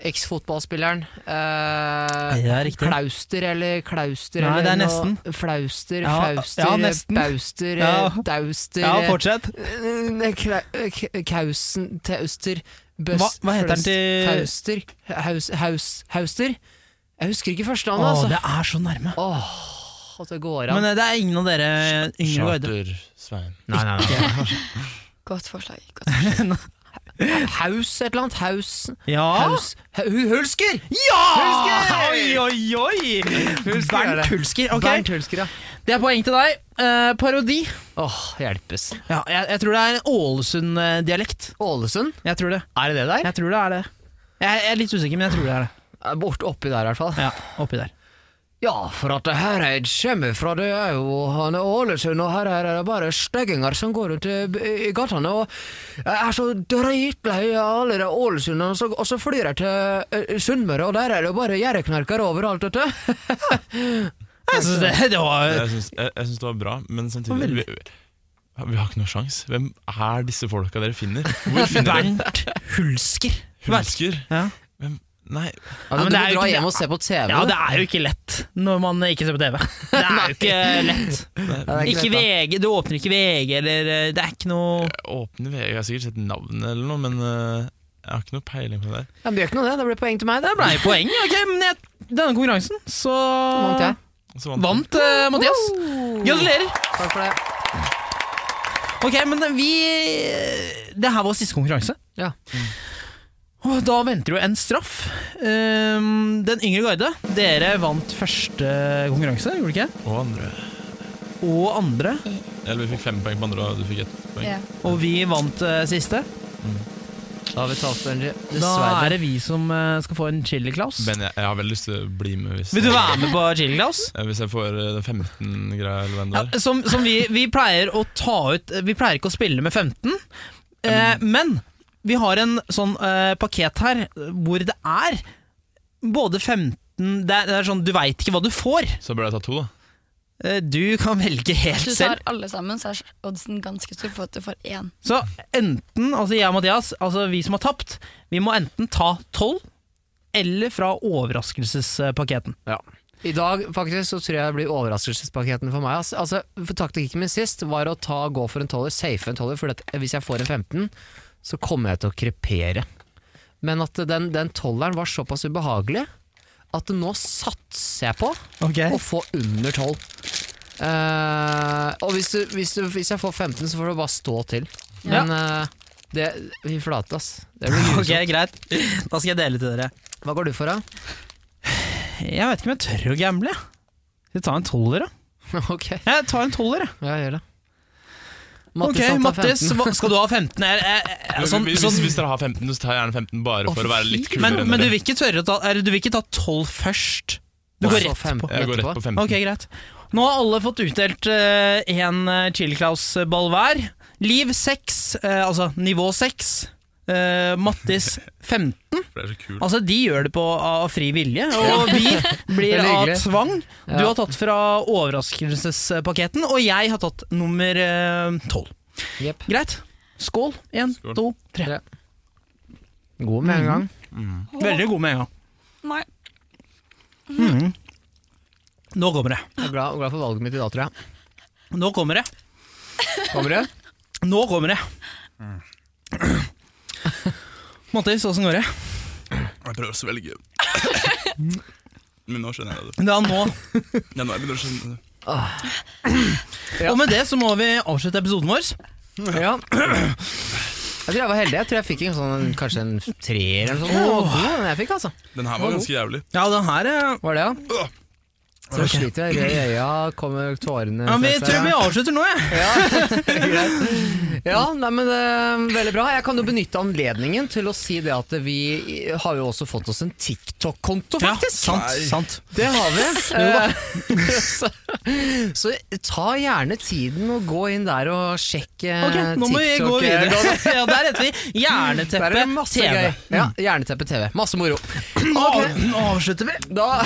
Speaker 6: Eksfotballspilleren. Eh,
Speaker 5: det er riktig.
Speaker 6: Klauster eller Klauster
Speaker 5: Nei, det er
Speaker 6: eller
Speaker 5: nesten.
Speaker 6: noe. Flauster,
Speaker 5: Ja,
Speaker 6: Flauster,
Speaker 5: ja, nesten.
Speaker 6: Bauster,
Speaker 5: Ja.
Speaker 6: eh, Dauster
Speaker 5: Ja,
Speaker 6: eh,
Speaker 5: fortsett.
Speaker 6: eh, nei, kla- eh, k- Kausen, Tauster Bøs,
Speaker 5: Hva- hva heter han
Speaker 6: Fløst,
Speaker 5: til-
Speaker 6: Fauster, haus, haus, Hauster? Jeg husker ikke første navn,
Speaker 5: Å,
Speaker 6: altså.
Speaker 5: det er så nærme.
Speaker 6: Åh, at det går an.
Speaker 5: Men eh, det er ingen av dere yngre guider.
Speaker 8: Charter-Svein.
Speaker 5: Nei, nei, nei.
Speaker 9: Godt forslag. Godt forslag.
Speaker 6: Haus et eller annet. Haus
Speaker 5: Ja.
Speaker 6: Haus Hu- Hulsker!
Speaker 5: Ja!
Speaker 6: Hulsker!
Speaker 5: Oi, oi, oi!
Speaker 6: Hulsker er
Speaker 5: Bernt
Speaker 6: det.
Speaker 5: Hulsker.
Speaker 6: Bernt
Speaker 5: Ok,
Speaker 6: Hulsker, ja.
Speaker 5: det er poeng til deg. Eh, parodi.
Speaker 6: Åh, hjelpes.
Speaker 5: Ja, jeg, jeg tror det er en Ålesund-dialekt.
Speaker 6: Ålesund?
Speaker 5: Jeg tror det.
Speaker 6: Er det det der?
Speaker 5: Jeg tror det er det. Jeg, jeg er litt usikker, men jeg tror det er det.
Speaker 6: Eh, Bort oppi der i hvert fall.
Speaker 5: Ja, oppi der.
Speaker 6: Ja, for at det her jeg kommer fra, det er jo han er Ålesund, og her er det bare støgginger som går rundt i b- i gatene, og jeg er så dritlei av alle de Ålesundene, og så- og så flyr jeg til eh, Sunnmøre, og der er det jo bare gjerreknarker overalt, vet du.
Speaker 5: Jeg synes det, det var
Speaker 8: Jeg syns, jeg, jeg syns det var bra, men samtidig vi, vi har ikke noe sjans. Hvem er disse folka dere finner? Hvor finner dere
Speaker 5: Bernt Hulsker.
Speaker 8: Hulsker?
Speaker 5: Ja.
Speaker 8: Hvem? Nei,
Speaker 6: Ja,
Speaker 5: men
Speaker 6: du
Speaker 5: det
Speaker 6: må
Speaker 5: er jo
Speaker 6: dra
Speaker 5: ikke-
Speaker 6: hjem og se på TV.
Speaker 5: Ja, det er jo ikke lett når man ikke ser på TV. Det er jo ikke lett.
Speaker 6: det er ikke
Speaker 5: Ikke
Speaker 6: lett, da.
Speaker 5: VG, du åpner ikke VG, eller eh, Det er ikke noe
Speaker 8: åpne VG, jeg har sikkert sett navnet eller noe, men eh, jeg har ikke noe peiling på det. der.
Speaker 6: Ja, men det gjør ikke noe det, det ble poeng til meg. Det
Speaker 5: Det ble poeng, ok, men jeg, denne konkurransen, så
Speaker 6: Vant jeg.
Speaker 8: Og så vant
Speaker 5: Vant eh, Mathias. Gratulerer.
Speaker 6: Takk for det.
Speaker 5: Ok, men vi eh, Det her var siste konkurranse.
Speaker 6: Ja.
Speaker 5: Og da venter jo en straff. Ehm, den yngre guide, dere vant første konkurranse, gjorde dere ikke?
Speaker 8: den. Og andre.
Speaker 5: Og andre.
Speaker 8: Eller vi fikk fem poeng på andre, og du fikk ett poeng.
Speaker 9: Ja.
Speaker 5: Og vi vant eh, siste.
Speaker 6: Da har vi talt for Angie.
Speaker 5: Da
Speaker 6: Dessverre.
Speaker 5: er det vi som eh, skal få en chili-klaus.
Speaker 8: Men jeg, jeg har veldig lyst til å bli med. Hvis
Speaker 5: Vil du være med på Chili Claus?
Speaker 8: Ja, hvis jeg får eh, den 15-greia eller hvem det er.
Speaker 5: Som, som vi, vi pleier å ta ut Vi pleier ikke å spille med 15, eh,
Speaker 9: Mm.
Speaker 5: men vi har en sånn eh, pakket her hvor det er både 15 Det er, det er sånn, du veit ikke hva du får.
Speaker 8: Så bør jeg ta to, da.
Speaker 5: Eh, du kan velge
Speaker 9: Hvis
Speaker 5: helt
Speaker 9: du
Speaker 5: selv.
Speaker 9: tar alle sammen, så er oddsen ganske stor for at du får én.
Speaker 5: Så enten, altså jeg og Mathias, altså vi som har tapt, vi må enten ta 12 eller fra overraskelsespaketten.
Speaker 6: I dag faktisk så tror jeg det blir overraskelsespaketten for meg. ass. Altså, for Taktikken min sist var å ta, gå for en tolver, safe en tolver, for at hvis jeg får en 15, så kommer jeg til å krepere. Men at den, den tolveren var såpass ubehagelig at nå satser jeg på
Speaker 5: Eh.
Speaker 6: å få under 12. Eh, og hvis, du, hvis, du, hvis jeg får 15, så får du bare stå til.
Speaker 5: Ja.
Speaker 6: Men eh, det Fy flate, ass. Det blir grusomt.
Speaker 5: Ok, greit. Da skal jeg dele til dere.
Speaker 6: Hva går du for, da?
Speaker 5: Jeg vet ikke om jeg tør å gamble. jeg. Skal vi ta en tolver, da?
Speaker 6: Ok.
Speaker 5: Jeg tar en tolver, jeg.
Speaker 6: Ja, gjør det.
Speaker 5: Ok,
Speaker 6: han tar
Speaker 5: Mattis,
Speaker 6: 15.
Speaker 5: hva- skal du ha 15? Jeg, jeg, jeg, sånn,
Speaker 8: hvis, hvis,
Speaker 5: sånn,
Speaker 8: hvis dere har 15, så tar jeg gjerne 15 bare for å være litt kulere.
Speaker 5: men,
Speaker 8: enn
Speaker 5: men du
Speaker 8: dere.
Speaker 5: vil ikke tørre å ta Eller du vil ikke ta 12 først? Du
Speaker 8: Nei.
Speaker 5: går
Speaker 8: Så
Speaker 5: rett
Speaker 8: fem-
Speaker 5: på
Speaker 8: jeg går rett på 15.
Speaker 5: Ok, greit Nå har alle fått utdelt én uh, Chili Claus-ball hver. Liv 6, altså nivå 6. Mattis 15.
Speaker 8: For det er så kult.
Speaker 5: Altså, de gjør det på av fri vilje, og vi blir
Speaker 6: Veldig
Speaker 5: av
Speaker 6: hyggelig.
Speaker 5: tvang. Du
Speaker 6: Ja.
Speaker 5: har tatt fra overraskelsespaketten, og jeg har tatt nummer eh, tolv.
Speaker 6: Jepp.
Speaker 5: Greit. Skål. Én,
Speaker 6: Skål.
Speaker 5: to, tre.
Speaker 6: God med en gang.
Speaker 5: Veldig god med en gang.
Speaker 9: Nei.
Speaker 5: Mhm. Nå kommer det.
Speaker 6: Jeg er glad, glad for valget mitt i dag, tror jeg.
Speaker 5: Nå kommer det.
Speaker 6: Kommer det? Mm.
Speaker 5: Nå kommer det. Mattis, åssen går det?
Speaker 8: Jeg prøver å svelge. Men nå skjønner jeg det.
Speaker 5: Da nå.
Speaker 8: Ja, nå er jeg begynner å skjønne det.
Speaker 5: Og med det så må vi avslutte episoden vår.
Speaker 6: Ja. Jeg tror jeg var heldig. Jeg tror jeg fikk en sånn, kanskje en treer eller noe sånt. Den var god, den jeg fikk, altså.
Speaker 8: Den her var ganske jævlig.
Speaker 5: Ja, den her eh, er
Speaker 6: Var det, ja? Så jeg sliter jeg i øya, kommer tårene
Speaker 5: ja, Vi
Speaker 6: setter
Speaker 5: tror
Speaker 6: seg.
Speaker 5: vi avslutter nå, jeg.
Speaker 6: Ja, nei, men eh, Veldig bra. Jeg kan jo benytte anledningen til å si det at vi har jo også fått oss en TikTok-konto,
Speaker 5: Ja,
Speaker 6: faktisk.
Speaker 5: sant, sant.
Speaker 6: Det har vi.
Speaker 5: da.
Speaker 6: Eh, så, så ta gjerne tiden og gå inn der og sjekk eh,
Speaker 5: Ok, nå må vi gå
Speaker 6: TikTok, eh,
Speaker 5: videre. Ja, der heter vi
Speaker 6: Der er det
Speaker 5: Jerneteppe
Speaker 6: masse
Speaker 5: TV. Mm.
Speaker 6: gøy. Ja, Jerneteppe TV. Masse moro.
Speaker 5: Nå,
Speaker 6: Ok.
Speaker 5: nå avslutter vi.
Speaker 6: Da,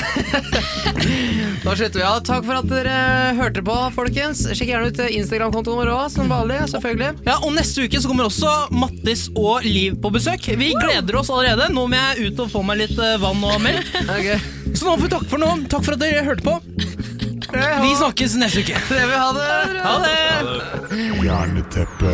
Speaker 6: da slutter vi. Ja, takk for at dere hørte på, folkens. Sjekk gjerne ut eh, Instagram-kontoen vår òg, som vanlig. selvfølgelig.
Speaker 5: Ja, og Neste uke så kommer også Mattis og Liv på besøk. Vi gleder oss allerede. Nå må jeg ut og få meg litt eh, vann og melk.
Speaker 6: Ok.
Speaker 5: Så nå får vi takke for nå. Takk for at dere hørte på. Vi snakkes neste uke.
Speaker 6: Det vil ha det.
Speaker 5: Ha det!
Speaker 7: Jerneteppe.